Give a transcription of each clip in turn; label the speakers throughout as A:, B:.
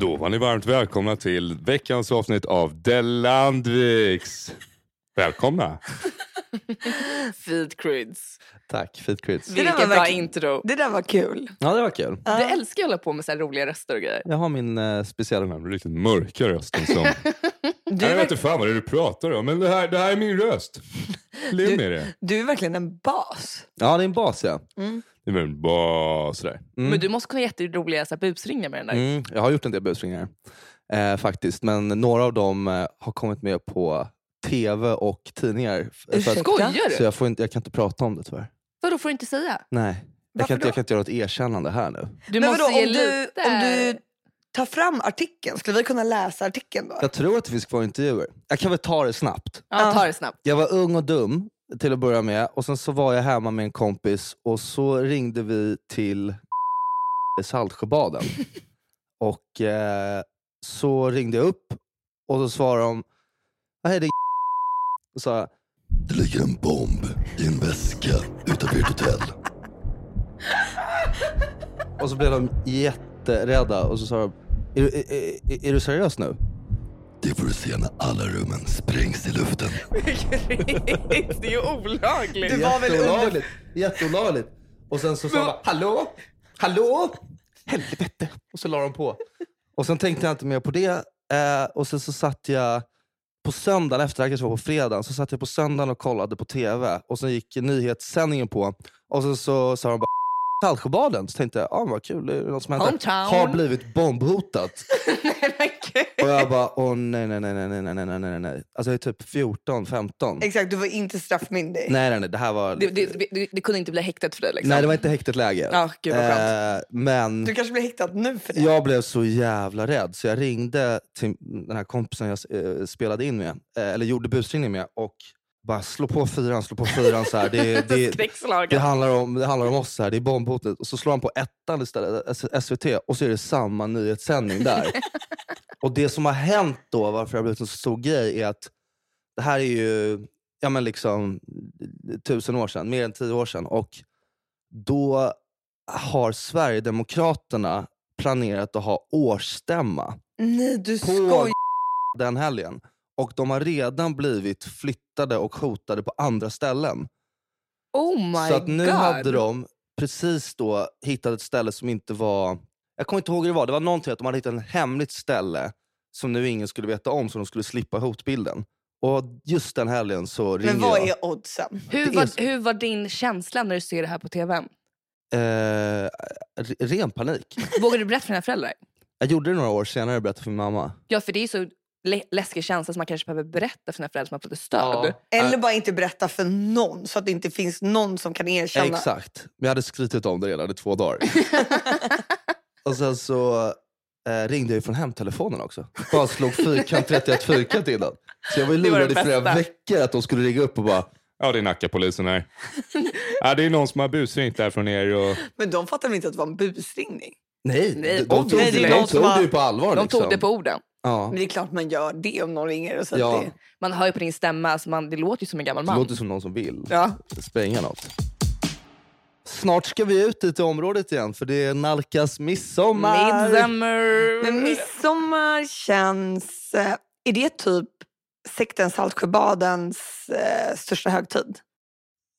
A: Då var ni varmt välkomna till veckans avsnitt av Delandviks. Välkomna!
B: Feed Crids.
C: Tack, Feet Crids.
B: Vilket
D: var
B: bra
D: verkligen-
B: intro.
D: Det där var kul.
C: Ja, det var kul.
B: Du älskar att hålla på med så här roliga röster och grejer.
C: Jag har min eh,
A: Den
C: speciella...
A: här lite mörka rösten som...
D: Du
A: jag
D: är,
A: vet
D: verk-
A: inte fan vad det är du pratar om, men det här, det här är min röst. Lev med det.
D: du är verkligen en bas.
C: Ja, det är en bas ja.
A: Det är väl bara sådär.
C: Mm.
B: Men du måste kunna jätteroliga så här, busringar med den där.
C: Mm, jag har gjort en del busringningar eh, faktiskt. Men några av dem eh, har kommit med på tv och tidningar. F- så att-
D: Ursäkta?
B: Skojar
C: så
B: du?
C: jag, får inte, jag kan inte prata om det tyvärr.
B: Vadå får du inte säga?
C: Nej. Jag
D: Varför
C: kan, inte,
D: då?
C: jag kan inte göra något erkännande här nu.
B: Du
D: Men
B: måste
D: vadå,
B: ge
D: om du,
B: lite...
D: om du tar fram artikeln, skulle vi kunna läsa artikeln då?
C: Jag tror att det finns kvar intervjuer. Jag kan väl ta det snabbt.
B: Ja, ta det snabbt.
C: Jag var ung och dum till att börja med och sen så var jag hemma med en kompis och så ringde vi till i Saltsjöbaden. och eh, så ringde jag upp och så svarade de "Ja, Hej det är Och sa jag,
E: Det ligger en bomb i en väska utanför ert hotell.
C: och så blev de jätterädda och så sa de är, du- är, är, är du seriös nu?
E: Det får du se när alla rummen sprängs i luften.
B: det är ju olagligt.
D: Du var väl under...
C: Jätteolagligt. Jätteolagligt. Och sen så sa de bara, hallå? Hallå? Helvete. Och så la de på. Och sen tänkte jag inte mer på det. Eh, och sen så satt jag på söndagen, efter det här kanske var på fredagen, så satt jag på söndagen och kollade på TV. Och sen gick nyhetssändningen på. Och sen så sa de bara Saltsjöbaden. Så tänkte jag, ah, vad kul, det är något som händer.
B: Hometown.
C: Har blivit bombhotat.
B: Nej, men gud.
C: Och jag bara, åh nej, nej, nej, nej, nej, nej, nej, nej, nej. Alltså jag är typ 14, 15. Nej,
D: Exakt, du var inte straffmyndig.
C: nej, nej, det här var...
B: det, det, det, det kunde inte bli häktet för dig liksom.
C: Nej, det var inte häktet läge.
B: Ja, gud vad skönt.
C: Eh, men
D: Du kanske blir häktad nu för det.
C: jag blev så jävla rädd så jag ringde till den här kompisen jag eh, spelade in med, eh, eller gjorde busringning med och bara slå på fyran, slå på fyran. Så här. Det, det,
B: Skräckslagen.
C: det, handlar om, det handlar om oss här, det är bombhotet. Och så slår han på ettan istället, S- SVT, och så är det samma nyhetssändning där. och det som har hänt då, varför det har blivit en så stor grej, är att det här är ju ja, men liksom, tusen år sedan, mer än tio år sedan. Och då har Sverigedemokraterna planerat att ha årsstämma
D: Nej, du
C: på
D: skojar.
C: den helgen. Och de har redan blivit flyttade och hotade på andra ställen.
B: Oh my
C: så att nu
B: god.
C: hade de precis då hittat ett ställe som inte var... Jag kommer inte ihåg hur det var. Det var någonting att de hade hittat ett hemligt ställe som nu ingen skulle veta om så de skulle slippa hotbilden. Och just den helgen så ringer
D: Men vad
C: jag.
D: är oddsen?
B: hur,
C: det är
B: var,
C: så.
B: hur var din känsla när du ser det här på tv?
C: Eh, re- ren panik.
B: Vågade du berätta för dina föräldrar?
C: Jag gjorde det några år senare och berättade för min mamma.
B: Ja, för det är så lä- läskig känsla som man kanske behöver berätta för sina föräldrar som har fått ett stöd.
D: Eller bara inte berätta för någon så att det inte finns någon som kan erkänna.
C: Exakt. Men jag hade skrytit om det redan i två dagar. och sen så eh, ringde jag ju från hemtelefonen också. Bara slog fyrkant 31 fyrkant innan. Så jag var ju
B: Det var det
C: lurad i flera
B: bästa.
C: veckor att de skulle ringa upp och bara
A: Ja, det är Nackapolisen här. ja, det är någon som har busringt där från er. Och...
D: Men de fattar väl inte att det var en busringning?
C: Nej,
B: Nej,
C: de, de tog,
D: nej, det är
C: det,
D: någon
C: de
D: som
C: tog
D: har-
C: det ju på allvar.
B: De
C: liksom.
B: tog det på orden.
C: Ja.
D: Men det är klart man gör det om någon ringer och säger
C: Ja.
D: det.
B: Man hör ju på din stämma, alltså man, det låter ju som en gammal
C: Det
B: man.
C: låter som någon som vill
B: Ja.
C: spränga något. Snart ska vi ut dit i området igen för det nalkas midsommar.
B: Midsummer.
D: Men midsommar känns... eh, Är det typ sekten Saltsjöbadens eh, största högtid?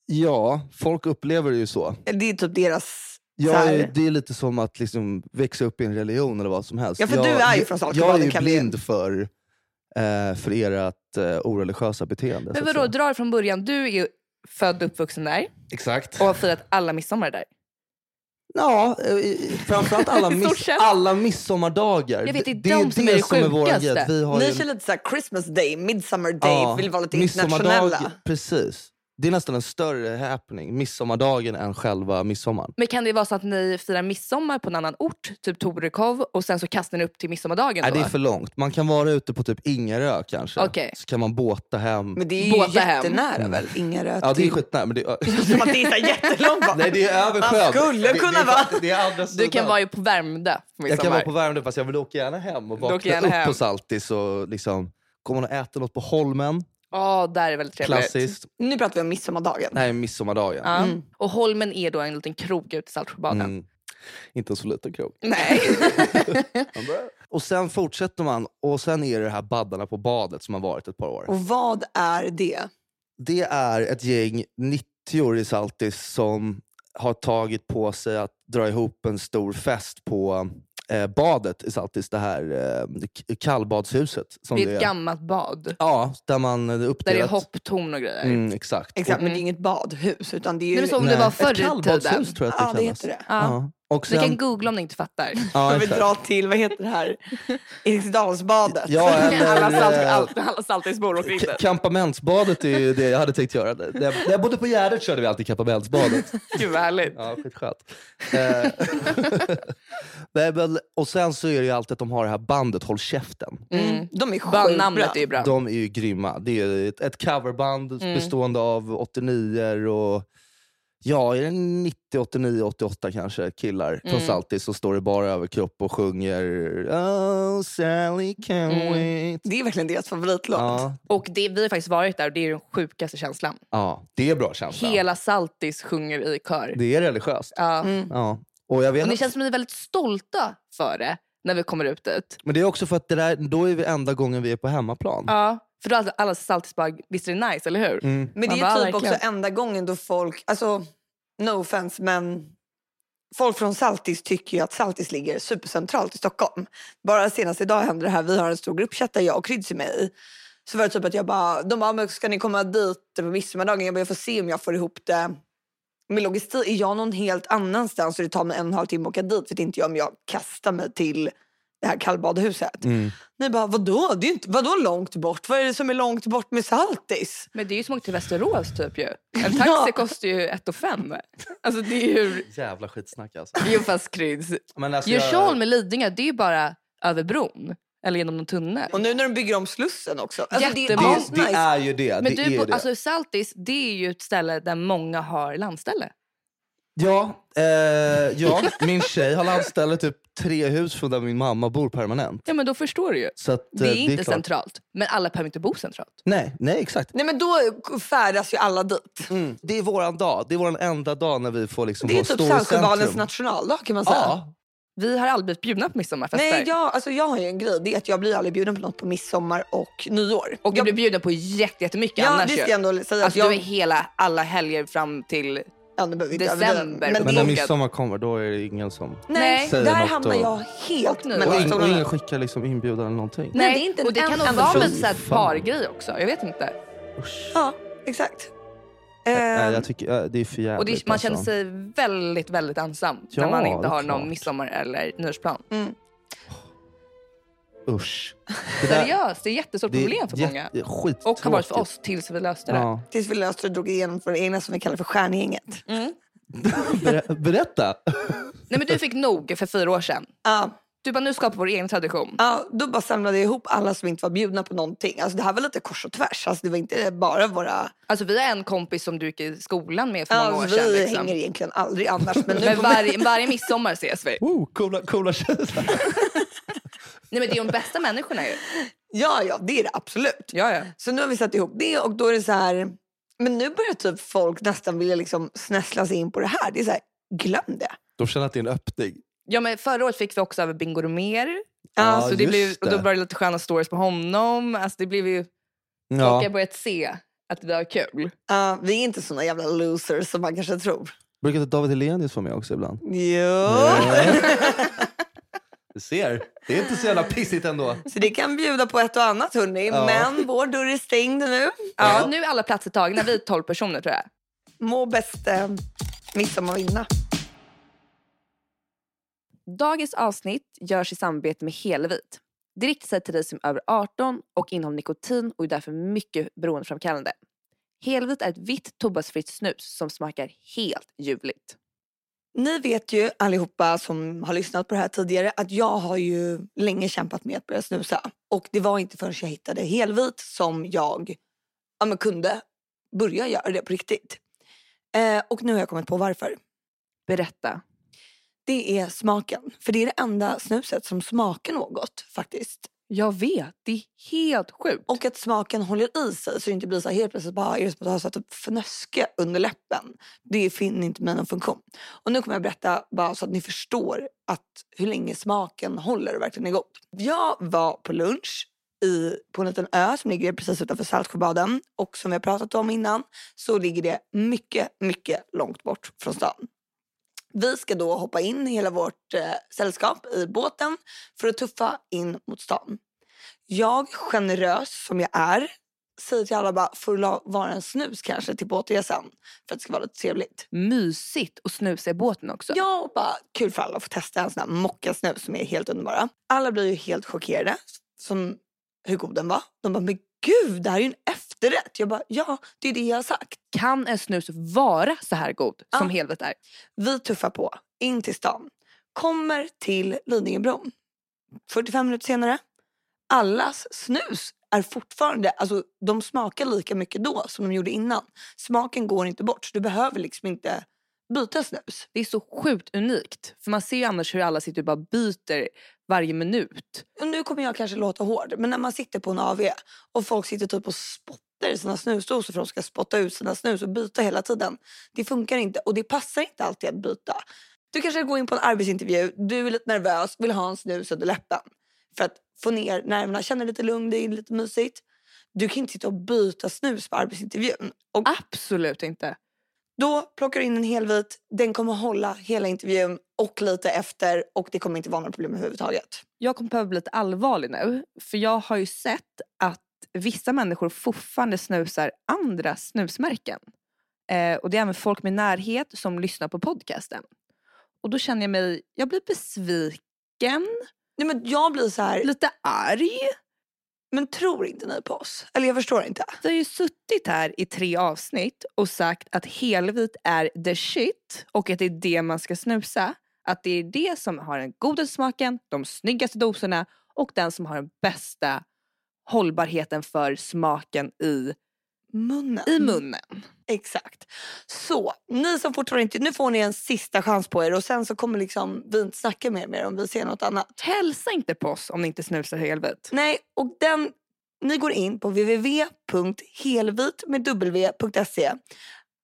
C: Ja, folk upplever det ju så.
D: Det är typ deras... så
C: Jag
D: här-
C: är, eh, det är lite som att liksom växa upp i en religion eller vad som helst.
D: Ja, för
C: jag,
D: du är ju från
C: jag,
D: Saltsjöbaden,
C: jag är ju
D: kan vi-
C: blind för, eh, för ert eh, oreligiösa beteende. så
B: Men
C: att
B: vadå,
C: säga.
B: dra det från början. Du är född och uppvuxen där
C: Exakt.
B: och har firat alla midsommar där.
C: Ja, eh, i- framförallt alla,
B: I stort
C: miss,
B: sett.
C: alla midsommardagar.
B: Jag vet, det är
C: ju
B: de som är det
C: våran
B: sjukaste.
C: grej, att Vi har ju
D: Ni
C: en-
D: kör lite så här Christmas day, midsummer day,
C: Ja,
D: vill vara lite
C: midsommardag-
D: internationella.
C: Precis. Det är nästan en större happening, midsommardagen, än själva midsommaren.
B: Men kan det vara så att ni firar midsommar på en annan ort, typ Torekov, och sen så kastar ni upp till midsommardagen?
C: Nej,
B: då?
C: det är för långt. Man kan vara ute på typ Ingarö kanske,
B: Okej.
C: så kan man båta hem.
D: Men det är ju
B: Båda hem.
D: jättenära väl? Inga röt
C: Mm. Ja, det är skitnära. Men det,
D: Som att det är så här jättelångt bort.
C: Nej, det är över sjön.
D: skulle
C: Det- det,
D: kunna
C: är-
D: vara.
C: Det är andra sidan.
B: Du kan vara ju på Värmdö på midsommar.
C: Jag kan vara på Värmdö fast jag vill åka gärna hem och
B: åker
C: vakna
B: gärna
C: upp
B: hem.
C: på Saltis och liksom, kommer och äta något på Holmen.
B: Ja, där är väldigt trevligt.
C: Klassiskt.
D: Nu pratar vi om midsommardagen.
C: Nej, midsommardagen.
B: Ja. Och Holmen är då en liten krog ute i Saltsjöbaden.
C: Mm. Inte en så liten krog.
B: Nej.
C: Man bara- Och sen fortsätter man och sen är det det här Baddarna på badet som har varit ett par år.
B: Mm.
D: Och vad är det?
C: Det är ett gäng 90-år i Saltis som har tagit på sig att dra ihop en stor fest på eh, badet i Saltis, det här eh, k- kallbadshuset. Som
B: Det är ett
C: det är.
B: gammalt bad.
C: Ja, där man eh,
B: Där
C: uppdelat.
B: det är typ. hopptorn och grejer.
C: Mm, exakt.
D: Exakt, men det är inget badhus utan det är ju...
B: Nej, men som
C: Nej,
B: det var
C: ett
B: förr i tiden.
C: kallbadshus tror jag att det
D: ja, det
C: kallas.
D: heter det.
B: Ja.
C: Ja. Och
B: Ni
C: sen,
B: kan googla om ni inte fattar.
C: ja,
D: Jag vill
C: exakt.
D: dra till, vad heter det här? Eriksdalsbadet.
C: Ja, eller,
B: alla, salt,
C: eh,
B: all, alla saltisbor åker in
C: K-
B: där.
C: Kampamentsbadet är ju det jag hade tänkt göra. När jag, när jag bodde på Gärdet körde vi alltid kampamentsbadet.
B: Gud vad härligt.
C: Ja, skitskönt. Eh, nej, men- och sen så är det ju alltid att de har det här bandet Håll käften.
B: Mm.
D: De är sjukt
B: Bandnamnet är ju bra.
C: De är ju grymma. Det är ju ett, ett coverband
B: Mm.
C: bestående av 89 och Ja, är det 90, 89, 88 kanske killar
B: Mm.
C: från Saltis som står i bara överkropp och sjunger Oh Sally can
B: Mm.
C: wait.
D: Det är verkligen deras favoritlåt.
C: Ja,
B: Och det, vi har faktiskt varit där och det är den sjukaste känslan.
C: ja, det är bra känsla.
B: Hela Saltis sjunger i kör.
C: Det Mm. är religiöst.
B: Ja.
C: Ja. Och jag vet
B: Och det
C: att-
B: känns som att ni är väldigt stolta för det när vi kommer ut dit.
C: Men det är också för att det där, då är vi enda gången vi är på hemmaplan.
B: Ja. För då har alla Saltis bara, visst är det nice, eller hur?
C: Mm.
D: Men det
B: Man
D: är
B: bara,
D: typ också
B: verkligen.
D: enda gången då folk, alltså no offense men folk från Saltis tycker ju att Saltis ligger supercentralt i Stockholm. Bara senast idag hände det här, vi har en stor gruppchatt där jag och Kryds är med i. Så var det typ att jag bara, de bara, "Men ska ni komma dit på midsommardagen? Jag bara, jag får se om jag får ihop det. Med logistik, är jag någon helt annanstans så det tar mig en och en halv timme att åka dit vet inte jag om jag kastar mig till det här kallbadhuset.
C: Mm.
D: Ni bara, vadå? Det är ju inte, vadå långt bort? Vad är det som är långt bort med Saltis?
B: Men det är ju som att åka till Västerås typ ju. En
D: Ja.
B: taxi kostar ju 1 5. Alltså det är ju...
C: Jävla skitsnack alltså.
B: Jo fast kryds.
C: Men alltså
B: Djursholm med Lidingö, det är ju bara över bron. Eller genom någon tunnel.
D: Och nu när de bygger om Slussen också. Alltså, det är
B: Jättebra.
C: det,
D: asnice.
C: det är ju det.
B: Men
C: det
B: du,
C: är
B: bo-
C: det.
B: alltså Saltis, det är ju ett ställe där många har landställe.
C: ja, eh, ja, min tjej har landställe typ tre hus från där min mamma bor permanent.
B: Ja men då förstår du ju.
C: Så att, eh,
B: Det är inte
C: klart.
B: centralt. Men alla behöver inte bo centralt.
C: Nej, nej exakt.
D: Nej, men då färdas ju alla dit.
C: Mm. Det är våran dag. Det är våran enda dag när vi får liksom
D: Det är
C: vara
D: typ
C: stor i
D: Saltsjöbadens
C: centrum.
D: nationaldag kan man säga.
C: Ja,
B: Vi har aldrig blivit bjudna på midsommarfester.
D: Nej, jag, alltså, jag har ju en grej. Det är att jag blir aldrig bjuden på något på midsommar och nyår.
B: Och jag
D: jag,
B: blir bjuden på jätte- jättemycket
D: ja,
B: annars
D: det ska
B: ju.
D: jag ändå
B: Alltså
D: säga. att
B: du är
D: jag,
B: hela, alla helger fram till...
D: ja, nu behöver vi inte
B: december.
D: överdriva. Men,
C: men
D: det,
C: när
B: Bokat.
C: midsommar kommer då är det ingen som...
D: nej,
B: Säger
D: där
C: något
D: hamnar
C: då.
D: jag helt
B: Och nu.
D: mellan
C: Och, ing, och ingen
D: stolarna.
C: skickar liksom inbjudan eller någonting.
D: Nej, det är inte
B: och det
D: en
B: kan nog
D: enda
B: vara
D: person.
B: med så här
C: Fan.
B: pargrej också. Jag vet inte.
D: Ja, exakt.
C: Nej,
D: Ehm,
C: jag tycker, eh, det är för jävligt.
B: Och det, man känner
C: alltså.
B: sig väldigt, väldigt ensam
C: Ja,
B: när man inte
C: det är
B: har
C: klart.
B: någon midsommar eller nyårsplan.
C: Usch. Det där-
B: Seriöst, det är ett jättestort problem för många.
C: jätte- skittråkigt.
B: Och har varit för oss tills vi löste det.
C: Ja.
D: tills vi löste det och drog igenom från det egna som vi kallar för stjärngänget.
C: Ber- Berätta!
B: Nej men du fick nog för fyra år sedan.
D: Ja.
B: Du bara, nu skapar vi vår egen tradition.
D: Ja, då bara samlade jag ihop alla som inte var bjudna på någonting. Alltså, det här var lite kors och tvärs. Alltså, det var inte bara våra...
B: Alltså vi har en kompis som du gick i skolan med för många år
D: Alltså,
B: sedan.
D: vi
B: Liksom.
D: hänger egentligen aldrig annars. Men nu
B: Men
D: på-
B: varje, varje midsommar ses vi.
C: Wow, coola, coola tjejer.
B: Nej men det är de bästa människorna ju.
D: Ja, ja, det är det absolut.
B: Ja, ja.
D: Så nu har vi satt ihop det och då är det så här... Men nu börjar typ folk nästan vilja liksom snäsla sig in på det här. Det är så här, glöm det.
C: De känner att det är en öppning.
B: ja men förra året fick vi också över Bingo mer.
C: Ja,
B: så det
C: just
B: blev, och då
C: det.
B: var det lite sköna stories på honom. Alltså det blev ju... Folk har
C: Ja.
B: börjat se att vi har kul.
D: Ja, vi är inte såna jävla losers som man kanske tror.
C: Brukar inte David Hellenius vara med också ibland?
D: Jo.
C: Du ser, det är inte så jävla pissigt ändå.
D: Så det kan bjuda på ett och annat, hörni.
C: Ja.
D: Men vår dörr är stängd nu.
B: Ja, nu är alla platser tagna. Vi är 12 personer tror jag.
D: Må bäst eh, midsommar vinna.
B: Dagens avsnitt görs i samarbete med Helvit. Det riktar sig till dig som är över 18 och innehåller nikotin och är därför mycket beroendeframkallande. Helvit är ett vitt tobaksfritt snus som smakar helt ljuvligt.
D: Ni vet ju allihopa som har lyssnat på det här tidigare att jag har ju länge kämpat med att börja snusa. Och det var inte förrän jag hittade helvit som jag ja, men kunde börja göra det på riktigt. Eh, och nu har jag kommit på varför.
B: Berätta.
D: Det är smaken. För det är det enda snuset som smakar något faktiskt.
B: Jag vet, det är helt sjukt.
D: Och att smaken håller i sig så det inte blir så här helt plötsligt bara är det som att jag har satt upp fnöske under läppen. Det finner inte mig någon funktion. Och nu kommer jag berätta bara så att ni förstår att hur länge smaken håller och verkligen är god. Jag var på lunch i, på en liten ö som ligger precis utanför Saltsjöbaden och som vi har pratat om innan så ligger det mycket, mycket långt bort från stan. Vi ska då hoppa in hela vårt eh, sällskap i båten för att tuffa in mot stan. Jag, generös som jag är, säger till alla bara, får du la- vara en snus kanske till båtresan? För att det ska vara lite trevligt.
B: Mysigt och snusa i båten också.
D: Ja, och bara kul för alla att få testa en sån här mockasnus som är helt underbara. Alla blir ju helt chockerade som hur god den var. De bara, men gud, det här är ju en efterrätt. Jag bara, ja, det är det jag har sagt.
B: Kan en snus vara så här god
D: Ja.
B: som helvete är?
D: Vi tuffar på in till stan. Kommer till Lidingöbron. 45 minuter senare. Allas snus är fortfarande, alltså de smakar lika mycket då som de gjorde innan. Smaken går inte bort så du behöver liksom inte byta snus.
B: Det är så sjukt unikt. För man ser ju annars hur alla sitter och bara byter varje minut.
D: Och nu kommer jag kanske låta hård men när man sitter på en AV och folk sitter typ och spottar i sina snusdosor för att de ska spotta ut sina snus och byta hela tiden. Det funkar inte och det passar inte alltid att byta. Du kanske går in på en arbetsintervju, du är lite nervös, vill ha en snus under läppen för att få ner nerverna, känna lite lugn, det är lite mysigt. Du kan inte sitta och byta snus på arbetsintervjun. Och
B: Absolut inte.
D: då plockar du in en helvit, den kommer hålla hela intervjun och lite efter och det kommer inte vara några problem överhuvudtaget.
B: Jag kommer behöva bli lite allvarlig nu. För jag har ju sett att vissa människor fortfarande snusar andra snusmärken. Eh, och det är även folk med närhet som lyssnar på podcasten. Och då känner jag mig, jag blir besviken,
D: Nej, men jag blir så här,
B: lite arg.
D: men tror inte ni på oss? Eller jag förstår inte.
B: Vi har ju suttit här i tre avsnitt och sagt att helvit är the shit och att det är det man ska snusa. Att det är det som har den godaste smaken, de snyggaste doserna och den som har den bästa hållbarheten för smaken i,
D: Munnen.
B: i munnen.
D: Exakt. Så, ni som fortfarande inte... Nu får ni en sista chans på er och sen så kommer liksom vi inte snacka mer med er om vi ser något annat.
B: Hälsa inte på oss om ni inte snusar helvit.
D: Nej, och den... Ni går in på www.helvitmedw.se E.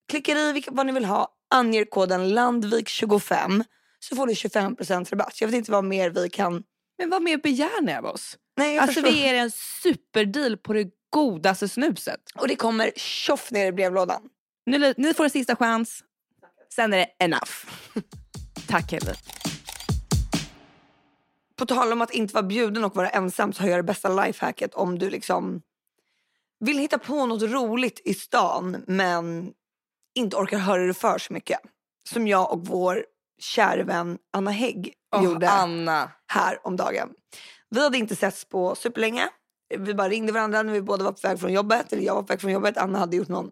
D: Klickar i vilka- vad ni vill ha, anger koden LANDVIK25 så får ni 25% rabatt. Jag vet inte vad mer vi kan...
B: Men vad mer begär ni av oss?
D: Nej, jag
B: Alltså
D: förstår.
B: vi är en superdeal på det godaste snuset.
D: Och det kommer tjoff ner i brevlådan.
B: Nu, ni får en sista chans. Sen är det enough. Tack helvit.
D: på tal om att inte vara bjuden och vara ensam så har jag det bästa lifehacket om du liksom vill hitta på något roligt i stan men inte orkar höra det för så mycket. Som jag och vår kära vän Anna Hägg gjorde
B: Anna.
D: här om dagen. Vi hade inte setts på superlänge. Vi bara ringde varandra när vi båda var på väg från jobbet. Eller jag var på väg från jobbet. Anna hade gjort någon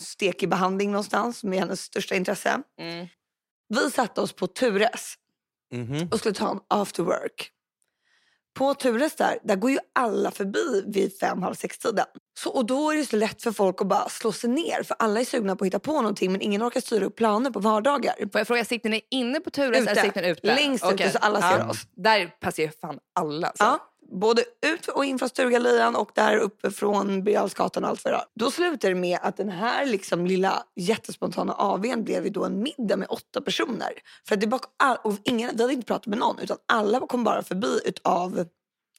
D: stekig behandling någonstans med hennes största intresse. Vi satte oss på Tures
F: Mhm.
D: och skulle ta en after work. På Tures där, där går ju alla förbi vid fem, halv sex-tiden. Så, och då är det så lätt för folk att bara slå sig ner för alla är sugna på att hitta på någonting men ingen orkar styra upp planer på vardagar.
B: Får jag fråga, sitter ni inne på Tures
D: Ute.
B: eller sitter ni ute?
D: Längst ute,
B: Okej.
D: så alla ser oss.
B: Där passar ju fan alla. alltså. Så.
D: Ja, både ut och in från Sturgalejan och där uppe från Birger Jarls gatan och allt vad det är. Då slutar det med att den här liksom lilla jättespontana AWn blev ju då en middag med åtta personer. För att det var all, och ingen, vi hade inte pratat med någon utan alla kom bara förbi utav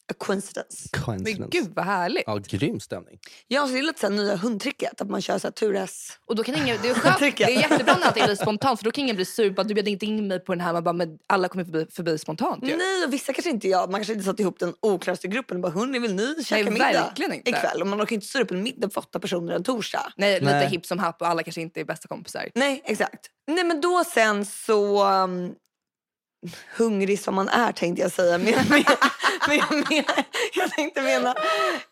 D: a coincidence.
B: Men
C: Coincidence.
B: gud vad härligt.
C: Ja, grym stämning.
D: Ja, så det är lite så här nya hundtricket att man kör så här tures.
B: Och då kan ingen, det är skönt,
D: Tycker
B: det
D: jag.
B: är jättebra när allting blir spontant för då kan ingen bli sur på att du bjöd inte in mig på den här. Man bara, men alla kommer förbi, förbi spontant ju.
D: Nej, och vissa kanske inte jag. Man kanske inte satt ihop den oklaraste gruppen och bara “hörni, vill ni käka
B: Nej,
D: middag
B: verkligen inte.
D: ikväll?” Och man orkar inte styra upp en middag för åtta personer en torsdag.
B: Nej, lite
C: Nej.
B: hipp som happ och alla kanske inte är bästa kompisar.
D: Nej, exakt. Nej, men då sen så... Um, hungrig som man är tänkte jag säga. Men, men, men, jag menar- jag tänkte mena...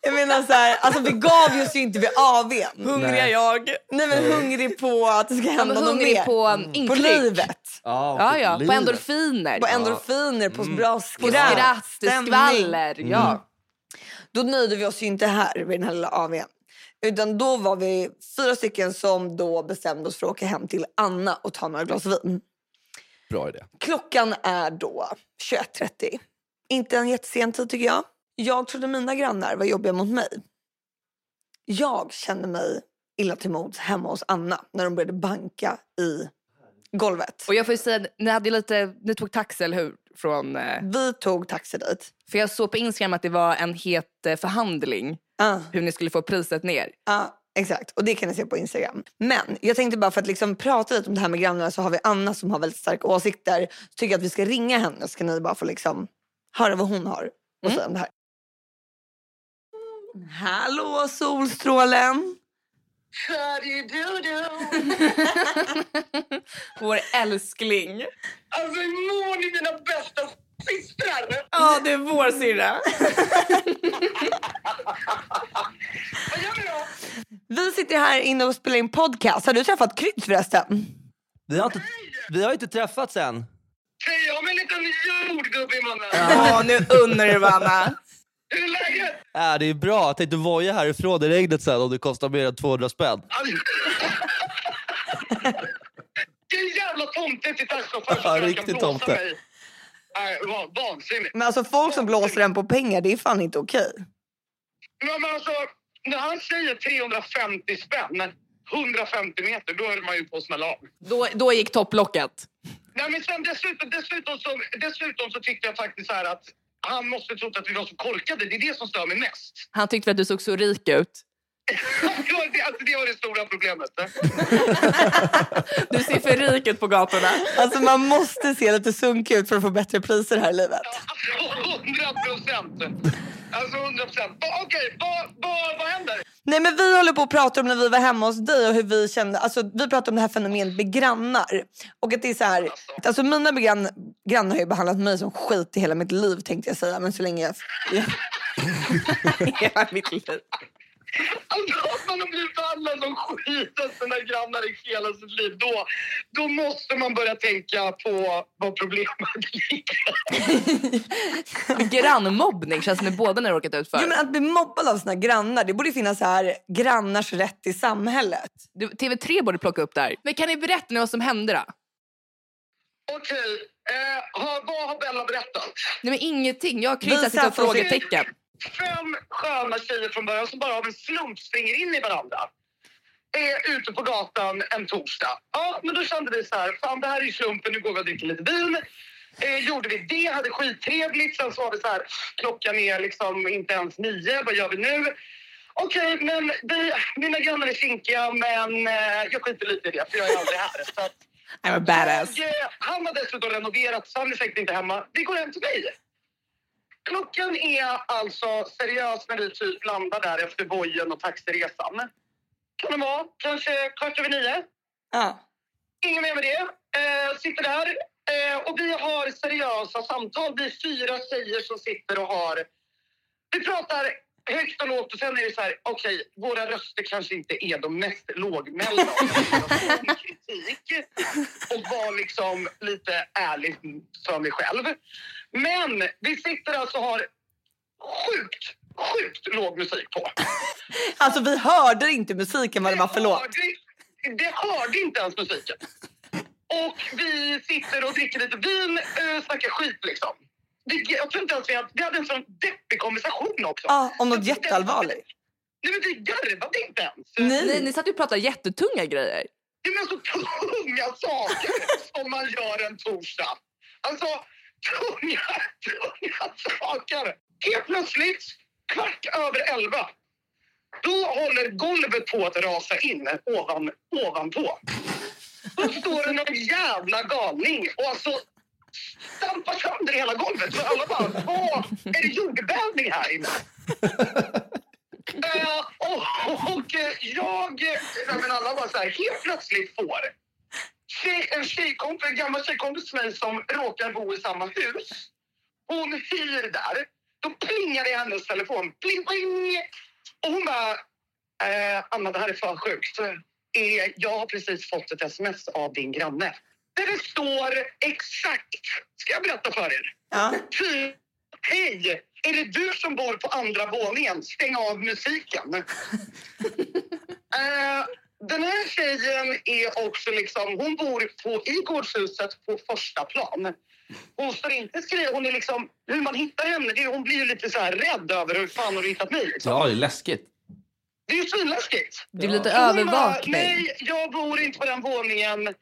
D: Jag menar så här, alltså vi gav oss ju inte vid AWn.
B: Hungrig
C: Nej.
B: är jag.
D: Nej men hungrig på att det ska
B: Ja, men
D: hända något
B: hungrig
D: mer.
B: på um,
D: på
B: intryck.
D: livet.
B: Ja, ja, på endorfiner.
D: På endorfiner, på bra
B: Mm. På
D: skratt.
B: skratt,
D: stämning.
B: skvaller. Ja.
D: Då nöjde vi oss ju inte här vid den här lilla AWn. Utan då var vi fyra stycken som då bestämde oss för att åka hem till Anna och ta några glas vin.
C: Bra idé.
D: Klockan är då 21.30. Inte en jättesen tid tycker jag. Jag trodde mina grannar var jobbiga mot mig. Jag kände mig illa till mods hemma hos Anna när de började banka i golvet.
B: Och jag får ju säga, ni, hade ju lite, ni tog taxi, eller hur? Från, eh,
D: Vi tog taxi dit.
B: för jag såg på Instagram att det var en het eh, förhandling
D: Ah.
B: hur ni skulle få priset ner.
D: Ja, exakt. Och det kan ni se på Instagram. Men jag tänkte bara för att liksom prata lite om det här med grannarna så har vi Anna som har väldigt starka åsikter. Så tycker jag att vi ska ringa henne så kan ni bara få liksom höra vad hon har att säga om det här. Mm. Hallå solstrålen!
G: Tjadidoo-doo!
B: Vår älskling.
G: Alltså hur mår ni mina bästa systrar?
B: Ja, det är vår syrra.
G: Vad gör ni då?
D: Vi sitter här inne och spelar in podcast. Har du träffat Krydd förresten?
C: Vi har inte, vi har inte träffats än.
G: Hej, jag har med en liten jordgubbe i munnen.
B: Ja, nu unnar du Vanna.
G: Hur är läget?
C: Äh, det är bra. Jag tänkte voja härifrån i regnet sen om det kostar mer än 200 spänn.
G: Alltså- Vilken jävla tomte till taxichaufför
C: Ja,
G: som försöker
C: riktigt
G: blåsa
C: tomte.
G: mig. Nej, va- vansinnigt.
D: Men alltså folk som blåser en på pengar, det är fan inte okej.
G: Men men alltså, när han säger 350 spänn, 150 meter, då höll man ju på att smälla av.
B: Då, då gick topplocket.
G: Nej, men sen dessutom, dessutom, så, dessutom så tyckte jag faktiskt så här att han måste trott att vi var så korkade. Det är det som stör mig mest.
B: Han tyckte väl att du såg så rik ut.
G: Det var det, alltså, det var det stora problemet.
B: Du ser för rik ut på gatorna.
D: Alltså man måste se lite sunkig ut för att få bättre priser här i livet.
G: Hundra procent! Alltså hundra procent. Va- Okej, vad va, vad händer?
D: Nej men vi håller på att prata om när vi var hemma hos dig och hur vi kände, alltså vi pratade om det här fenomenet med grannar. Och att det är så här, alltså mina begrann, grannar har ju behandlat mig som skit i hela mitt liv tänkte jag säga, men så länge jag...
B: Hela mitt liv.
G: Alltså att man har blivit behandlad som skit av sina grannar i hela sitt liv. Då, då måste man börja tänka på vad problemet ligger.
B: Grannmobbning känns det båda ni har råkat ut för.
D: Jo men att bli mobbad av sina grannar, det borde finnas så här grannars rätt i samhället.
B: Du, TV3 borde plocka upp det här. Men kan ni berätta nu vad som hände då?
G: Okej, eh, har- vad har Bella berättat?
B: Nej men ingenting. Jag och Chris
D: Visa
B: har suttit och
D: för oss.
B: frågetecken.
G: fem sköna tjejer från början som bara av en slump springer in i varandra. Är ute på gatan en torsdag. Ja, men då kände vi så här, fan det här är ju slumpen, nu går vi och dricker lite vin. Eh, gjorde vi det, hade skittrevligt. Sen så var vi så här, klockan är liksom inte ens nio, vad gör vi nu? Okej, men vi, mina grannar är kinkiga, men eh, jag skiter lite i det, för jag är aldrig här. Så att,
B: I'm a badass.
G: jag, eh, han har dessutom renoverat så han är säkert inte hemma. Vi går hem till dig. Klockan är alltså seriöst när vi typ landar där efter bojen och taxiresan. Kan det vara kanske kvart över nio?
D: Ja.
G: Ingen mer med det. Eh, sitter där eh, och vi har seriösa samtal. Vi är fyra tjejer som sitter och har... Vi pratar högt och lågt och sen är det så här, okej, våra röster kanske inte är de mest lågmälda. om vi ska ha sån kritik och vara liksom lite ärlig för mig själv. Men vi sitter alltså och har sjukt, sjukt låg musik på.
D: Alltså vi hörde inte musiken vad det var för låt.
G: Hörde, det hörde inte ens musiken. Och vi sitter och dricker lite vin, äh, snackar skit liksom. Vi, jag tror inte ens vi hade, vi hade en sån deppig konversation också.
D: Ja, om något jätteallvarligt.
G: Nej men vi garvade inte ens.
B: Ni, ni satt ju och pratade jättetunga grejer.
G: Det är men så tunga saker som man gör en torsdag. Alltså, tunga, tunga saker. Helt plötsligt, kvart över elva, då håller golvet på att rasa in ovan, ovanpå. Då står det någon jävla galning och alltså stampar sönder hela golvet. För alla bara, vad är det jordbävning här inne? Eh, och, och eh, jag, eh, nej, men alla bara så här, helt plötsligt får tjej, en tjejkompis, en gammal tjejkompis till mig som råkar bo i samma hus. Hon hyr där. Då plingar det i hennes telefon. Pling, pling. Och hon bara, eh, Anna det här är för sjukt. Eh, jag har precis fått ett sms av din granne. Där det står exakt, ska jag berätta för er?
D: Ja.
G: Ty, hej! Är det du som bor på andra våningen? Stäng av musiken. Eh, Den här tjejen är också liksom, hon bor på, i gårdshuset på första plan. Hon står inte skriven, hon är liksom, hur man hittar henne, det, är- hon blir ju lite så här rädd över hur fan har du hittat mig? Liksom.
F: Ja, det är läskigt.
G: Det är ju svinläskigt.
B: Du blir lite
G: Så hon
B: övervakning.
G: bara, Nej, jag bor inte på den våningen. Eh,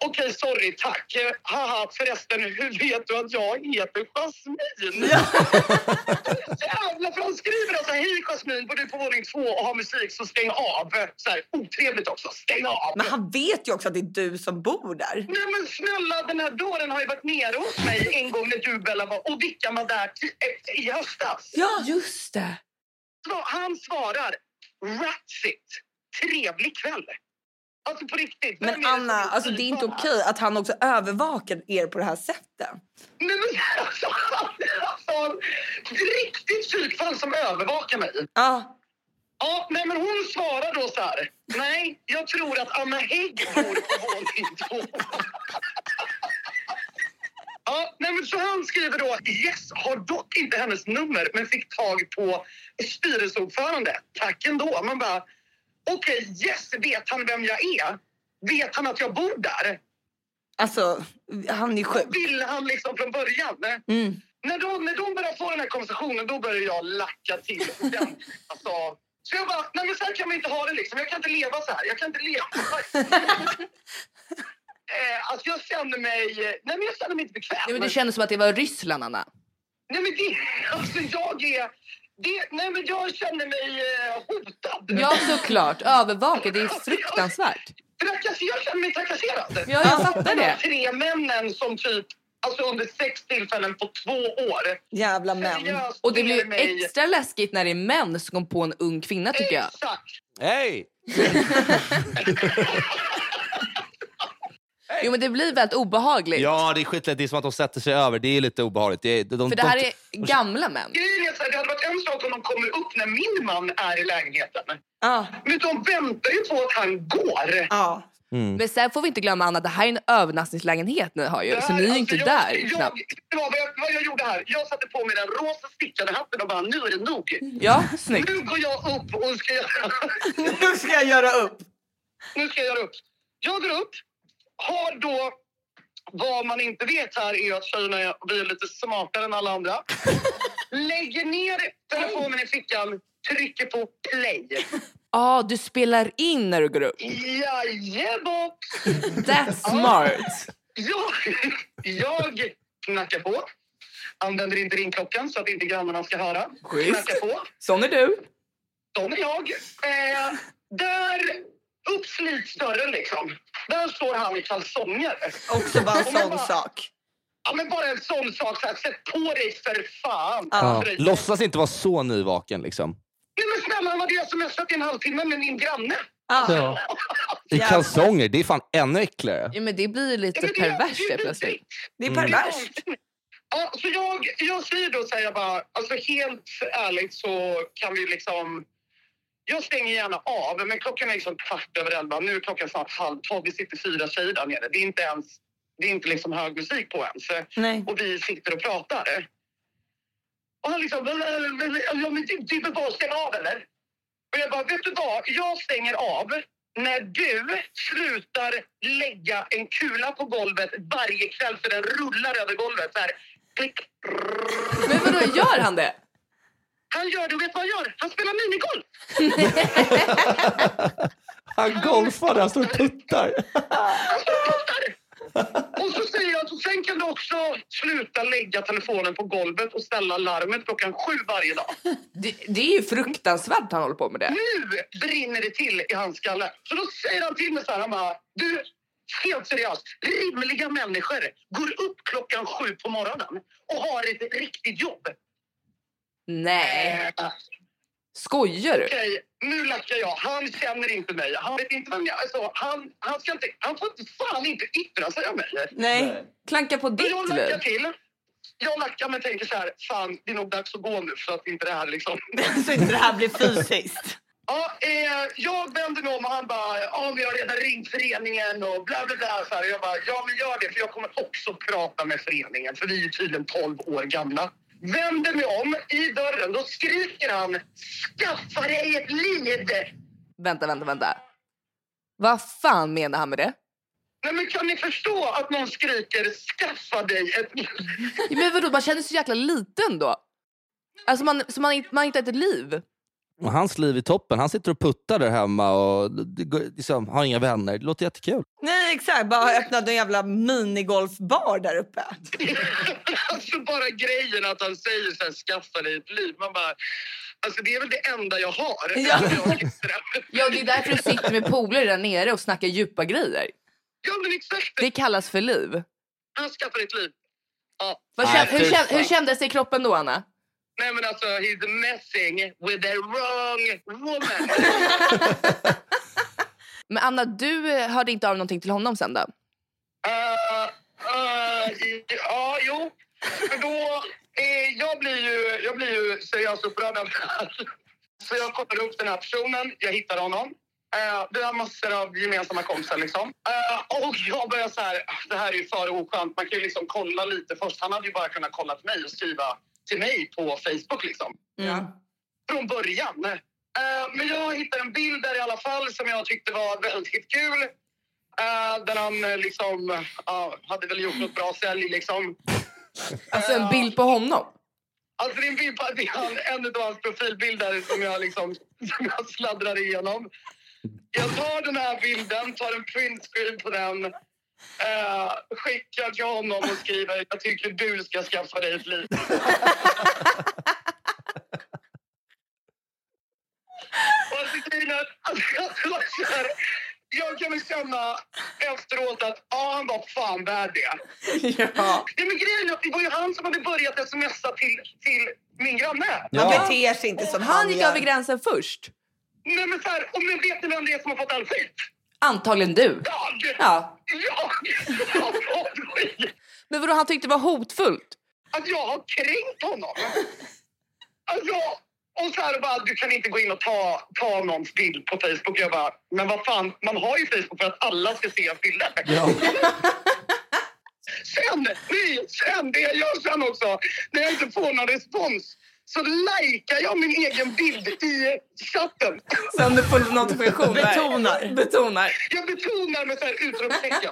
G: Okej, sorry, tack. Eh, Haha, förresten, hur vet du att jag heter Jasmine? Jävlar, för hon skriver alltså hej Jasmine, bor du på våning två och har musik så stäng av. Så här, otrevligt också, stäng av.
D: Men han vet ju också att det är du som bor där.
G: Nej men snälla, den här dåren har ju varit nere hos mig en gång när du Bella var och Vickan var där i- i höstas.
D: Ja,
B: Just det.
G: Sva- Han svarar that's it. Trevlig kväll. Alltså på riktigt. vem är
D: men
G: det som
D: Anna, alltså det är inte
G: vidbara?
D: okej att han också övervakar er på det här sättet.
G: Nej men alltså, han är alltså ett riktigt psykfall som övervakar mig.
D: Ja,
G: Ja, nej men hon svarar då så här. Nej, jag tror att Anna Hägg bor på våning två. Ja, nej men så han skriver då. Yes, har dock inte hennes nummer men fick tag på styrelseordförande. Tack ändå. Man bara, okej, yes, vet han vem jag är? Vet han att jag bor där?
D: alltså han är sjuk.
G: Vill han liksom från början?
D: Mm.
G: när de, när de börjar få den här konversationen då börjar jag lacka till ordentligt. alltså, Så jag bara, nej men så här kan man inte ha det liksom. Jag kan inte leva så här. Jag kan inte leva så här. eh, alltså jag känner mig, nej men jag känner mig inte bekväm.
B: Nej, men det kändes som att det var Ryssland, Anna.
G: Nej men det, alltså jag är, det, nej men jag känner mig eh, hotad.
B: Ja, såklart. Övervakad. Det är fruktansvärt.
G: Trakass, jag känner mig trakasserad.
B: Ja, jag fattar
G: De här
B: det.
G: tre männen som typ, alltså under sex tillfällen på två år.
D: Jävla män.
G: seriöst
B: Och det
G: ger
B: blir
G: mig-
B: extra läskigt när det är män som kom på en ung kvinna tycker jag.
G: Exakt.
F: Hej!
B: Jo men det blir väldigt obehagligt.
F: Ja, det är skitlätt. Det är som att de sätter sig över. Det är lite obehagligt. Det är, de, de,
B: För det här är gamla män.
G: Grejen är så här, det hade varit en sak om de kommer upp när min man är i lägenheten.
D: Ja,
G: Men de väntar ju på att han går.
D: ja.
B: Men sen får vi inte glömma Anna, det här är en övernattningslägenhet ni har ju. Så ni är ju inte
G: Alltså, jag,
B: där
G: jag,
B: knappt.
G: det var vad, jag, vad jag gjorde här, jag satte på mig den rosa stickade hatten och bara nu är det nog.
B: Ja, snyggt.
G: Nu går jag upp och ska göra,
D: Nu ska jag göra upp.
G: nu ska jag göra upp. Jag går upp, har då vad man inte vet här är att tjejerna är, vi är lite smartare än alla andra. Lägger ner telefonen i fickan, trycker på play.
B: Ja, du spelar in när du går upp.
G: Jajebok!
B: That's smart.
G: Jag, jag knackar på. Använder inte ringklockan så att inte grannarna ska höra.
B: Schysst.
G: Knackar på.
B: Sån är du.
G: Sån är jag. Eh, där uppslits dörren liksom. Där står han i kalsonger.
D: Också bara en
G: Och man
D: sån
G: bara-
D: sak.
G: Ja men bara en sån sak så här, sätt på dig för fan.
F: ja.
D: Ja.
F: Låtsas inte vara så nyvaken. Liksom.
G: Nej men snälla han hade ju smsat i en halvtimme med min granne.
D: Ja.
F: I
D: Ja.
F: kalsonger, det är fan ännu äckligare.
B: Ja, men det blir ju lite
G: Ja, men det-
B: perverst
G: det-
B: helt
G: det-
B: plötsligt.
D: Det är
F: Mm.
D: perverst.
G: Ja, så jag, jag säger då så här, jag bara, alltså helt ärligt så kan vi liksom... Jag stänger gärna av, men klockan är liksom kvart över elva. Nu är klockan snart halv tolv. Vi sitter fyra tjejer där nere. Det är inte ens... Det är inte liksom hög musik på ens.
D: Nej.
G: Och vi sitter och pratar. Och han liksom... Ja, men det- det är väl bara att stänga av, eller? Och jag bara, vet du vad? Jag stänger av när du slutar lägga en kula på golvet varje kväll så den rullar över golvet. Så här, klick.
B: Men vadå, gör han det?
G: Han gör det, vet du vad han gör? Han spelar minigolf!
F: Han golfar där han står och puttar.
G: Han står och puttar. Och så säger jag att sen kan du också sluta lägga telefonen på golvet och ställa larmet klockan sju varje dag.
B: det? Det är ju fruktansvärt att han håller på med det.
G: Nu brinner det till i hans skalle. Så då säger han till mig så här, han bara, du, helt seriöst, rimliga människor går upp klockan sju på morgonen och har ett riktigt jobb.
B: Nej,
G: Eh,
B: skojar du?
G: Okej, nu lackar jag. Han känner inte mig. Han vet inte vem jag är. Så han, han, ska inte, han får inte fan inte yttra sig om mig.
D: Nej.
B: Klanka på
G: Men Jag
B: ditt
G: lackar
B: liv.
G: till. Jag lackar men tänker så här, fan det är nog dags att gå nu för att inte det här liksom...
D: Så inte det här blir fysiskt.
G: Ja, eh, jag vänder mig om och han bara, ja men jag har redan ringt föreningen och bla bla bla. Så här. Och Jag bara, ja men gör det för jag kommer också prata med föreningen för vi är ju tydligen 12 år gamla. Vänder mig om i dörren, då skriker han, skaffa dig ett liv!
B: Vänta, vänta, vänta. Vad fan menar han med det?
G: Nej, men kan ni förstå att någon skriker skaffa dig ett...
B: Men vadå, man känner sig så jäkla liten då. Alltså man, så man, man har inte ett liv.
C: Och hans liv i toppen. Han sitter och puttar där hemma och det går- liksom, har inga vänner. Det låter jättekul.
D: Nej, exakt. Bara öppnat en jävla minigolfbar där uppe.
G: alltså bara grejen att han säger så här, skaffa dig ett liv. Man bara, alltså det är väl det enda jag har.
D: Ja.
G: Jag sitter här.
B: Ja, det är därför du sitter med polare där nere och snackar djupa grejer.
G: ja men exakt.
B: Det kallas för liv.
G: Han skaffar ett liv. Ja.
B: Vad
F: Nej,
B: kän, hur,
F: fy
B: kän,
F: fan.
B: hur kändes det i kroppen då, Anna?
G: Nej men alltså, he's messing with the wrong woman.
B: Men Anna, du eh, hörde inte av någonting till honom sen då?
G: Eh, eh, i- ja, jo. För då... eh, jag, blir ju, jag blir ju seriöst upprörd av det här. Så jag kollar upp den här personen, jag hittar honom. Eh, vi har massor av gemensamma kompisar. Liksom. Eh, och jag börjar så här... Det här är ju för oskönt. Man kan ju liksom kolla lite först. Han hade ju bara kunnat kolla mig och skriva till mig på Facebook. Liksom
D: Mm.
G: från början. Eh, men jag hittade en bild där i alla fall som jag tyckte var väldigt kul. Eh, där han eh, liksom, ja, hade väl gjort något bra sälj liksom.
B: Alltså en bild på honom?
G: Alltså det är en bild på det är han, en av hans profilbilder som jag liksom som jag sladdrar igenom. Jag tar den här bilden, tar en printscreen på den, eh, skickar till honom och skriver jag tycker du ska skaffa dig ett liv. och alltså, grejen är- alltså, jag var så här, jag kan väl känna efteråt att ja, han var fan värd det.
D: Ja.
G: Nej, men grejen är att det var ju han som hade börjat smsa till, till min granne.
C: Ja.
D: Man beter sig inte som
B: Han gick
D: gör.
B: över gränsen först.
G: Nej, men så här, och nu vet ni vem det är som har fått all skit?
B: Antagligen du.
G: Jag!
B: Ja.
G: Jag har fått skit!
B: Men vadå, han tyckte det var hotfullt?
G: Att jag har kränkt honom. Alltså, och så här bara, du kan inte gå in och ta, ta någons bild på Facebook. Jag bara, men vad fan, man har ju Facebook för att alla ska se ens bilder. Sen, nej, sen, det jag gör sen också, när jag inte får någon respons så likar jag min egen bild i chatten.
B: Sen du får notifikation. Betonar. Betonar.
G: Jag betonar med så här utropstecken.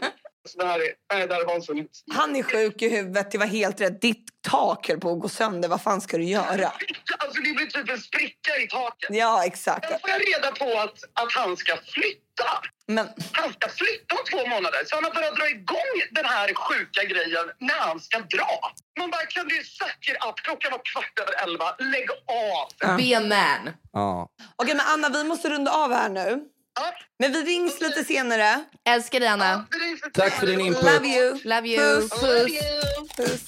G: Så det här är, nej, det här är vansinnigt.
D: Han är sjuk i huvudet. Det var helt rätt. Ditt tak höll på att gå sönder. Vad fan ska du göra?
G: Alltså det blir typ en spricka i taket.
D: Ja, exakt.
G: Sen får jag reda på att, att han ska flytta.
D: Men
G: Han ska flytta om två månader. Så han har börjat dra igång den här sjuka grejen när han ska dra. Man bara, kan du säkra att klockan var kvart över elva? Lägg av!
B: Be a man.
C: Ja.
D: Okej, men Anna, vi måste runda av här nu.
G: Ja,
D: Men vi rings lite senare.
B: Älskar dig, Anna.
G: det är så-
C: Tack för din input.
D: Love you.
B: Love you.
D: Puss.
G: Love you.
D: Puss.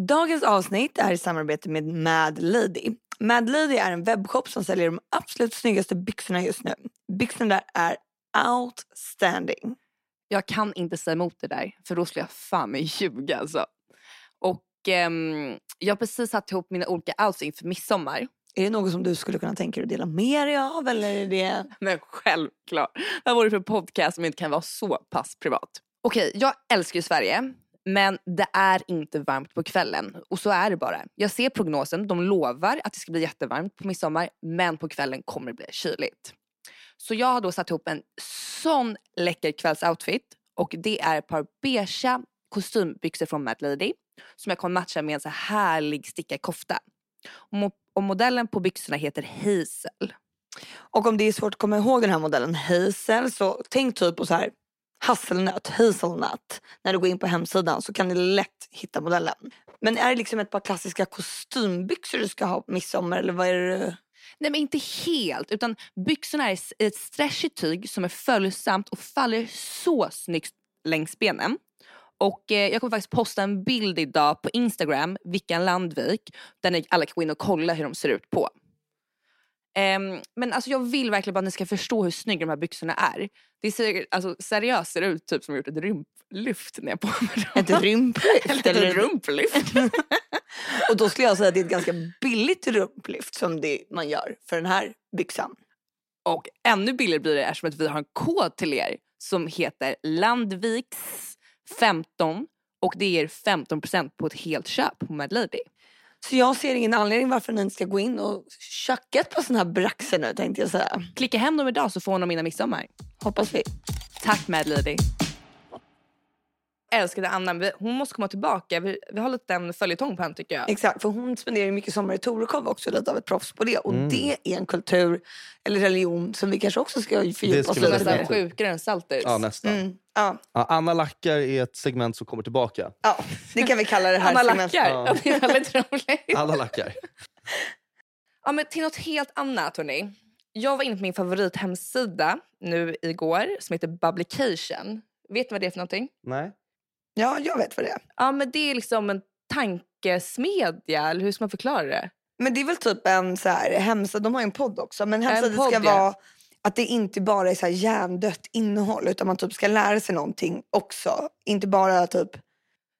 D: Dagens avsnitt är i samarbete med Mad Lady. Mad Lady är en webbshop som säljer de absolut snyggaste byxorna just nu. Byxorna där är outstanding.
B: Jag kan inte säga emot det där, för då skulle jag fan mig ljuga alltså. Och ehm, jag har precis satt ihop mina olika outfits inför midsommar.
D: Är det något som du skulle kunna tänka dig att dela med dig av? Eller är det...
B: Men självklart. Vad vore det för podcast som inte kan vara så pass privat? Okej, jag älskar ju Sverige. Men det är inte varmt på kvällen. Och så är det bara. Jag ser prognosen. De lovar att det ska bli jättevarmt på midsommar. Men på kvällen kommer det bli kyligt. Så jag har då satt ihop en sån läcker kvällsoutfit. Och det är ett par beigea kostymbyxor från Mad Lady. Som jag kommer matcha med en så här härlig stickad kofta. Och, mo- och modellen på byxorna heter Hazel.
D: Och om det är svårt att komma ihåg den här modellen Hazel så tänk typ på så här hasselnöt, hazelnut. När du går in på hemsidan så kan du lätt hitta modellen. Men är det liksom ett par klassiska kostymbyxor du ska ha på midsommar eller vad är det du-
B: Nej men inte helt utan byxorna är s- i ett stretchigt tyg som är följsamt och faller så snyggt längs benen. Och eh, jag kommer faktiskt posta en bild idag på Instagram, Vickan Landvik, där ni alla kan gå in och kolla hur de ser ut på. Ehm, men alltså jag vill verkligen bara att ni ska förstå hur snygga de här byxorna är. Det ser alltså, seriöst ser det ut typ som jag gjort ett rumplyft när jag har på mig dem.
D: Ett rumplyft?
B: Eller
D: eller
B: ett rumplyft.
D: och då skulle jag säga att det är ett ganska billigt rumplyft som det man gör för den här byxan.
B: Och ännu billigare blir det eftersom att vi har en kod till er som heter Landviks15 och det ger 15% på ett helt köp på Mad Lady.
D: Så jag ser ingen anledning varför ni inte ska gå in och tjacka ett par såna här braxer nu tänkte jag säga.
B: Klicka hem dem idag så får hon dem innan midsommar.
D: Hoppas vi.
B: Tack Mad Lady. Älskade Anna, men vi- hon måste komma tillbaka. Vi, vi har lite en följetong på henne tycker jag.
D: Exakt, för hon spenderar ju mycket sommar i Torekov också, lite av ett proffs på det. Och
C: Mm.
D: det är en kultur eller religion som vi kanske också ska
C: Det
D: fördjupa
C: ska
D: oss
C: vi
D: lite
B: Nästan
C: definitivt.
D: i.
B: sjukare än Salters.
C: Ja, nästan.
D: Mm. Ja,
C: Ja, Anna Lackar är ett segment som kommer tillbaka.
D: ja, det kan vi kalla det här.
B: Anna
D: segmentet.
B: lackar.
C: Ja.
B: Det är väldigt roligt.
C: Alla lackar.
B: Ja, men till något helt annat hörni. Jag var inne på min favorithemsida nu igår som heter Publication. Vet ni vad det är för någonting?
C: Nej.
D: Ja, jag vet vad det är.
B: Ja, men det är liksom en tankesmedja, eller hur ska man förklara det?
D: Men det är väl typ en så här, hemsida, de har ju en podd också, men hemsidan
B: podd,
D: ska
B: ja.
D: vara att det inte bara är så här hjärndött innehåll utan man typ ska lära sig någonting också. Inte bara typ,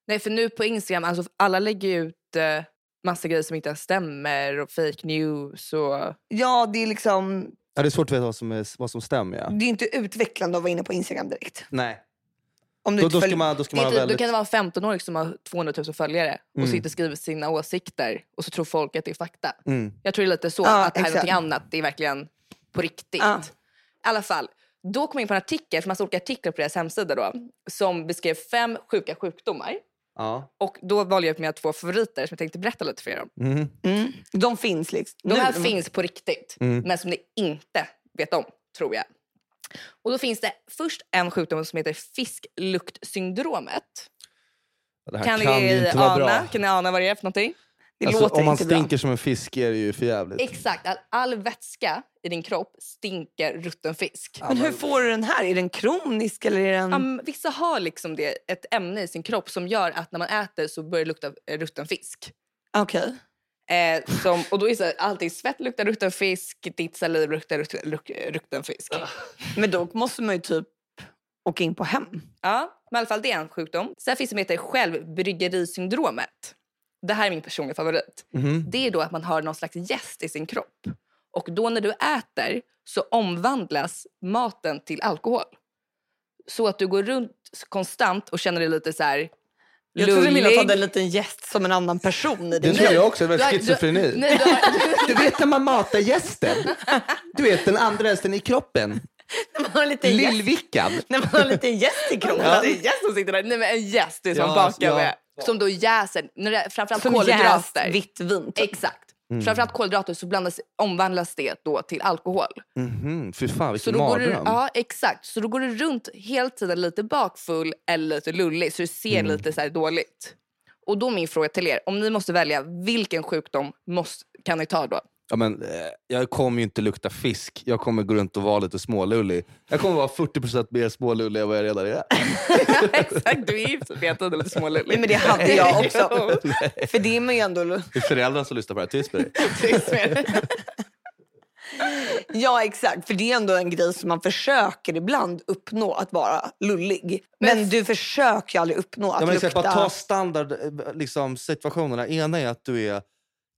B: Nej, för nu på Instagram, alltså alla lägger ju ut eh, massa grejer som inte ens stämmer och fake news och...
D: ja det är liksom,
C: Ja, det är svårt att veta vad som, är, vad som stämmer. Ja.
D: det är inte utvecklande att vara inne på Instagram direkt.
C: Nej.
D: Om du
C: Då,
D: inte
C: då ska
D: följer-
C: man, då ska
B: Det
C: man
B: är
C: ha
B: typ, Då
C: väldigt...
B: kan det vara en 15-åring som har 200 000 följare och
C: Mm.
B: sitter och skriver sina åsikter och så tror folk att det är fakta.
C: Mm.
B: Jag tror det är lite så,
D: Ja,
B: att det här är
D: exakt.
B: någonting annat. Det är verkligen på riktigt.
D: Ja.
B: I alla fall, då kom jag in på en artikel, för massa olika artiklar på deras hemsida då, som beskrev fem sjuka sjukdomar.
C: Ja.
B: Och då valde jag ut mina två favoriter som jag tänkte berätta lite för er om.
C: Mm.
D: Mm. De finns liksom.
B: De här
D: Nu-
B: finns på riktigt,
C: Mm.
B: men som ni inte vet om, tror jag. Och då finns det först en sjukdom som heter fiskluktsyndromet.
C: Det här
B: Kan,
C: kan,
B: ni
C: ju inte vara
B: ana?
C: bra.
B: Kan ni ana vad det är för någonting?
D: Det
C: Alltså,
D: låter
C: om man
D: inte bra.
C: stinker som en fisk är det ju för jävligt.
B: Exakt, att all vätska i din kropp stinker rutten fisk.
D: Men hur får du den här? Är den kronisk eller är den...
B: Ja, men vissa har liksom det, ett ämne i sin kropp som gör att när man äter så börjar det lukta eh, rutten fisk.
D: Okej.
B: Eh, som, och då är det så här, allt i svett luktar rutten fisk, ditt saliv luktar rutten, luk, rutten fisk.
D: Ah. Men då måste man ju typ åka in på hem.
B: Ja, men i alla fall det är en sjukdom. Sen finns det som heter självbryggerisyndromet. Det här är min personliga favorit.
D: Mm.
C: Mhm.
B: Det är då att man har någon slags jäst i sin kropp. Och då när du äter så omvandlas maten till alkohol. Så att du går runt konstant och känner dig lite så här
D: Jag trodde Milla hade
B: lullig.
D: en liten gäst som en annan person
C: Det
D: i din
C: tror
D: kropp.
C: jag också, det
B: Du
C: var
B: har-
C: schizofreni.
B: Du, nej, du har,
C: Du vet när man matar gästen? Du vet den andra hästen i kroppen?
D: Man har en liten gäst.
C: Lillvickan.
D: När man har en liten gäst i kroppen.
B: ja. Det är en gäst som sitter där. Nej, men en gäst det är som
C: Ja,
B: bakar
C: ja.
B: med. Som då jäser, när det, framförallt
D: Som jäst
B: kolhydrater.
D: vitt vin. Typ.
B: Exakt.
C: Mm.
B: Framförallt kolhydrater så blandas, omvandlas det då till alkohol.
C: Mhm, fy fan
B: Så
C: vilken
B: då, går du,
C: mardröm.
B: ja, exakt. så då går du runt hela tiden lite bakfull eller lite lullig så du ser
C: Mm.
B: lite så här dåligt. Och då är min fråga till er, om ni måste välja vilken sjukdom måste, kan ni ta då?
C: Ja, men, eh, jag kommer ju inte lukta fisk. Jag kommer gå runt och vara lite smålullig. Jag kommer vara 40% mer smålullig än vad jag redan är.
B: exakt, du är ju typ hela tiden lite
D: Nej,
B: smålullig.
D: men det hade jag också.
B: Jo.
D: För det är man ju ändå...
C: Det är föräldrarna som lyssnar på det här. Tyst med dig.
B: Tyst med dig.
D: Ja, exakt. För det är ändå en grej som man försöker ibland uppnå, att vara lullig. Men, du försöker ju aldrig uppnå att
C: Ja, men
D: lukta...
C: jag bara ta standard, eh, liksom, situationerna. Ena är att du är,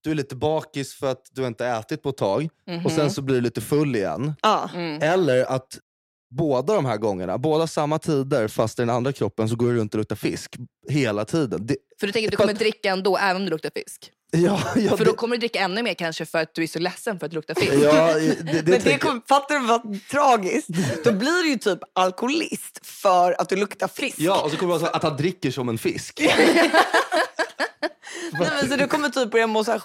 C: du är lite bakis för att du inte har ätit på ett tag.
B: Mhm.
C: Och sen så blir du lite full igen.
D: Ja.
B: Mm.
C: Eller att båda de här gångerna, båda samma tider fast i den andra kroppen så går du runt och luktar fisk hela tiden. Det,
B: För du tänker att du kommer dricka ändå även om du luktar fisk?
C: ja, ja,
B: För då
C: det-
B: kommer du dricka ännu mer kanske för att du är så ledsen för att det luktar fisk.
C: Ja, det, det,
D: Men det
C: tänker-
D: kom, fattar du vad tragiskt? Då blir du ju typ alkoholist för att du luktar fisk.
C: ja, och så kommer det vara så att han dricker som en fisk.
D: Nej, men så du kommer typ börja må så här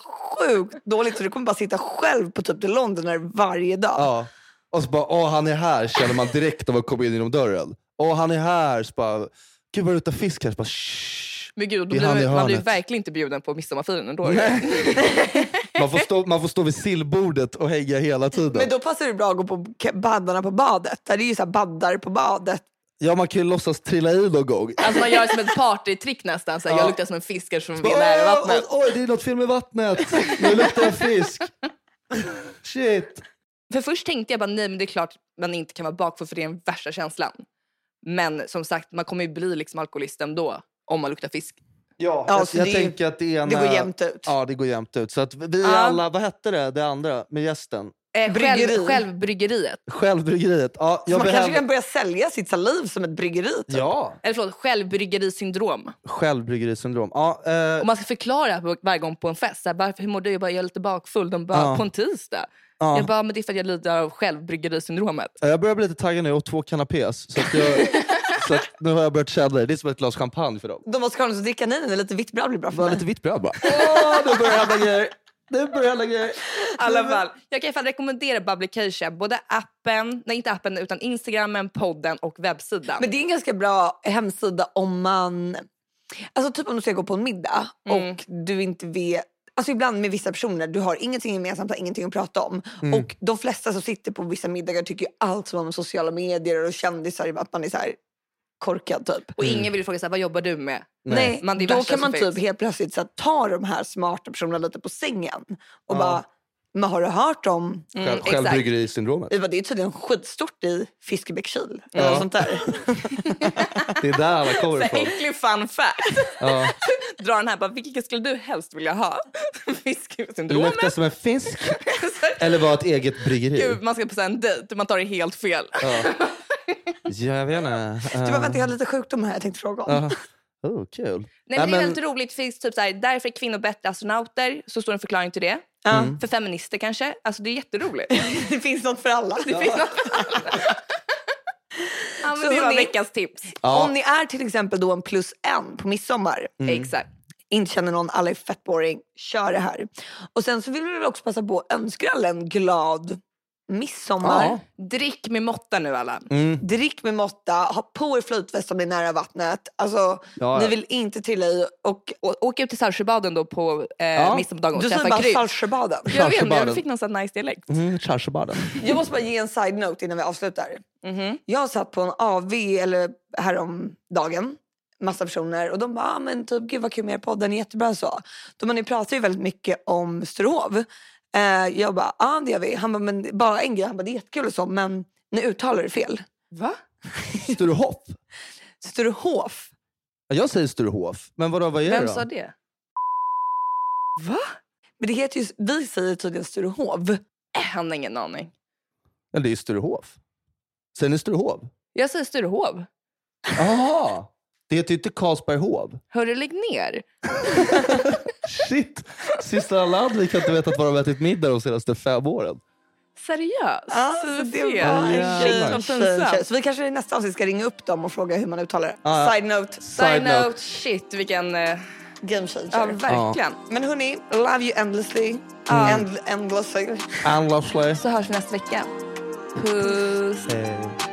D: sjukt dåligt så du kommer bara sitta själv på typ till London där varje dag.
C: Ja. Och så bara, åh han är här känner man direkt när man kommer in genom dörren. Åh han är här. Så bara, Gud vad det luktar fisk här. Så bara, "Shh."
B: Men gud, då
C: Det är
B: blir man,
C: han i
B: man blir ju
C: hörnet.
B: verkligen inte bjuden på midsommarfirande då.
C: man, får stå, man får stå vid sillbordet och hänga hela tiden.
D: Men då passar det bra att gå på ke- baddarna på badet. Där det är ju så här baddar på badet.
C: Ja man kan ju låtsas trilla i någon gång.
B: Alltså man gör som ett partytrick nästan. Såhär,
C: Ja.
B: Jag luktar som en fisk eftersom vi är nära
C: Åh,
B: vattnet.
C: åh, Oj det är något fel med vattnet. Nu luktar det fisk. Shit.
B: För först tänkte jag bara nej men det är klart man inte kan vara bakfull för det är den värsta känslan. Men som sagt man kommer ju bli liksom alkoholist ändå om man luktar fisk.
C: Ja,
D: Ja,
C: jag
D: så
C: jag
D: det är-
C: tänker att det ena...
D: Det går jämnt ut.
C: Ja det går jämnt ut. Så att vi
B: Ja.
C: alla, vad hette det, det andra med gästen?
B: Eh, själv,
D: Bryggeri.
B: självbryggeriet.
C: Självbryggeriet. Ja,
D: Så
C: jag
D: man kanske
C: behöver...
D: kan börja sälja sitt saliv som ett bryggeri. Typ.
C: Ja,
B: Eller förlåt, självbryggerisyndrom.
C: självbryggerisyndrom. Ja, eh,
B: Och man ska förklara på- varje gång på en fest. Så här, varför, hur mår du? Jag bara, jag är lite bakfull. De bara,
C: Ja.
B: på en tisdag?
C: ja.
B: Jag bara, men det är för att jag lider av självbryggerisyndromet.
C: Ja, Jag börjar bli lite taggad nu och två canapés. Så, att jag, så att nu har jag börjat känna det. Det är som ett glas champagne för dem.
D: De måste ha något att dricka. Nej, nej, nej, lite vitt bröd blir bra för
C: Bara
D: mig.
C: lite vitt bröd bara. Åh, nu börjar det hända grejer. Nu börjar det hända grejer.
B: I alla fall, jag kan i alla fall rekommendera Publication. Både appen, nej inte appen utan Instagramen, podden och webbsidan.
D: Men det är en ganska bra hemsida om man... Alltså typ om du ska gå på en middag
B: Mm.
D: och du inte vet... Alltså ibland med vissa personer, du har ingenting gemensamt, har ingenting att prata om.
C: Mm.
D: Och de flesta som sitter på vissa middagar tycker ju allt som om sociala medier och kändisar, att man är så här korkad typ.
B: och ingen vill fråga så här, vad jobbar du med?
D: Nej,
B: man- det är
D: då
B: värsta
D: kan man
B: som
D: typ
B: finns.
D: helt plötsligt så här, ta de här smarta personerna lite på sängen
C: Ja.
D: och bara, men har du hört om
B: Mm,
C: Själv,
B: exakt.
C: självbryggerisyndromet.
D: det är tydligen skitstort i Fiskebäckskil. Eller något sånt där.
C: Det är där alla kommer
B: Så
C: ifrån.
B: äcklig fun fact.
C: Ja.
B: Dra den här, bara, vilken skulle du helst vilja ha?
C: Det
B: Fisksyndromet.
C: luktar som en fisk. Eller var ett eget bryggeri.
B: Gud, man ska på så här en dejt och man tar det helt fel.
C: Ja. ja, jag vet inte.
D: Du bara,
C: Eh,
D: vänta jag har lite sjukdom här jag tänkte fråga om.
C: ja. Oh, kul.
B: Nej, men det
C: Nej,
B: är
C: men-
B: väldigt roligt. Det Finns typ så här, därför är kvinnor bättre astronauter. Så står en förklaring till det.
D: Ja.
B: För feminister kanske. Alltså det är jätteroligt.
D: Det finns något för alla.
B: Det finns något för alla. ja, men
D: Så
B: det var
D: ni-
B: veckans tips.
C: Ja. Mm.
D: Om ni är till exempel då en plus en på midsommar,
B: Exakt.
D: inte känner någon, alla är fett boring, kör det här. Och sen så vill vi väl också passa på att önska alla en glad midsommar.
C: Ja.
B: Drick med måtta nu alla.
C: Mm.
D: Drick med måtta, ha på er flytväst om ni är nära vattnet. Alltså,
C: Ja,
D: ni
C: ja.
D: vill inte trilla i och...
B: Å- Åk ut till Saltsjöbaden då på eh, midsommardagen och
D: Du säger
B: träffa
D: bara
B: Gry.
D: Saltsjöbaden.
B: Jag vet inte, jag
C: Saltsjöbaden.
B: fick någon sån nice dialekt.
C: Mm, Chargebaden.
D: Jag måste bara ge en side note innan vi avslutar.
B: Mhm.
D: Jag satt på en AV eller häromdagen, massa personer och de bara, ah, men typ gud vad kul med er podd, den är jättebra så. Då man pratar ju väldigt mycket om Sturehof. Eh, jag bara, ja ah, det gör vi. Han bara, men bara en grej, han bara, det är jättekul och så, men ni uttalar det fel.
B: Va?
C: Sturehof.
D: Sturehof.
C: Ja, Jag säger Sturehof. Men vadå, vad är det
B: Vem
C: då?
B: sa det? Va?
D: Men det heter ju, vi säger tydligen Sturehov.
B: Äh, han har ingen aning.
C: Ja, det är ju Sturehof. Säger ni Sturehof?
B: Jag säger Sturehov.
C: Jaha! Det heter ju inte Karlsberghov.
B: Hörru, lägg ner.
C: Shit! Systrarna Landvik har inte vetat vad de har ätit middag de senaste fem åren.
B: Seriöst?
D: Alltså, det var
C: Ah, Ja,
D: en tjej,
C: jävlar.
D: en tjej, en tjej. Så vi kanske i nästa avsnitt ska ringa upp dem och fråga hur man uttalar det.
C: Ja, ja.
D: Side note,
B: Side note, shit vilken... eh,
D: game changer.
B: Ja, verkligen.
D: Men hörni, love you endlessly. End, endlessly.
C: Ann Lashley.
B: Så hörs vi nästa vecka. Puss.
C: Eh.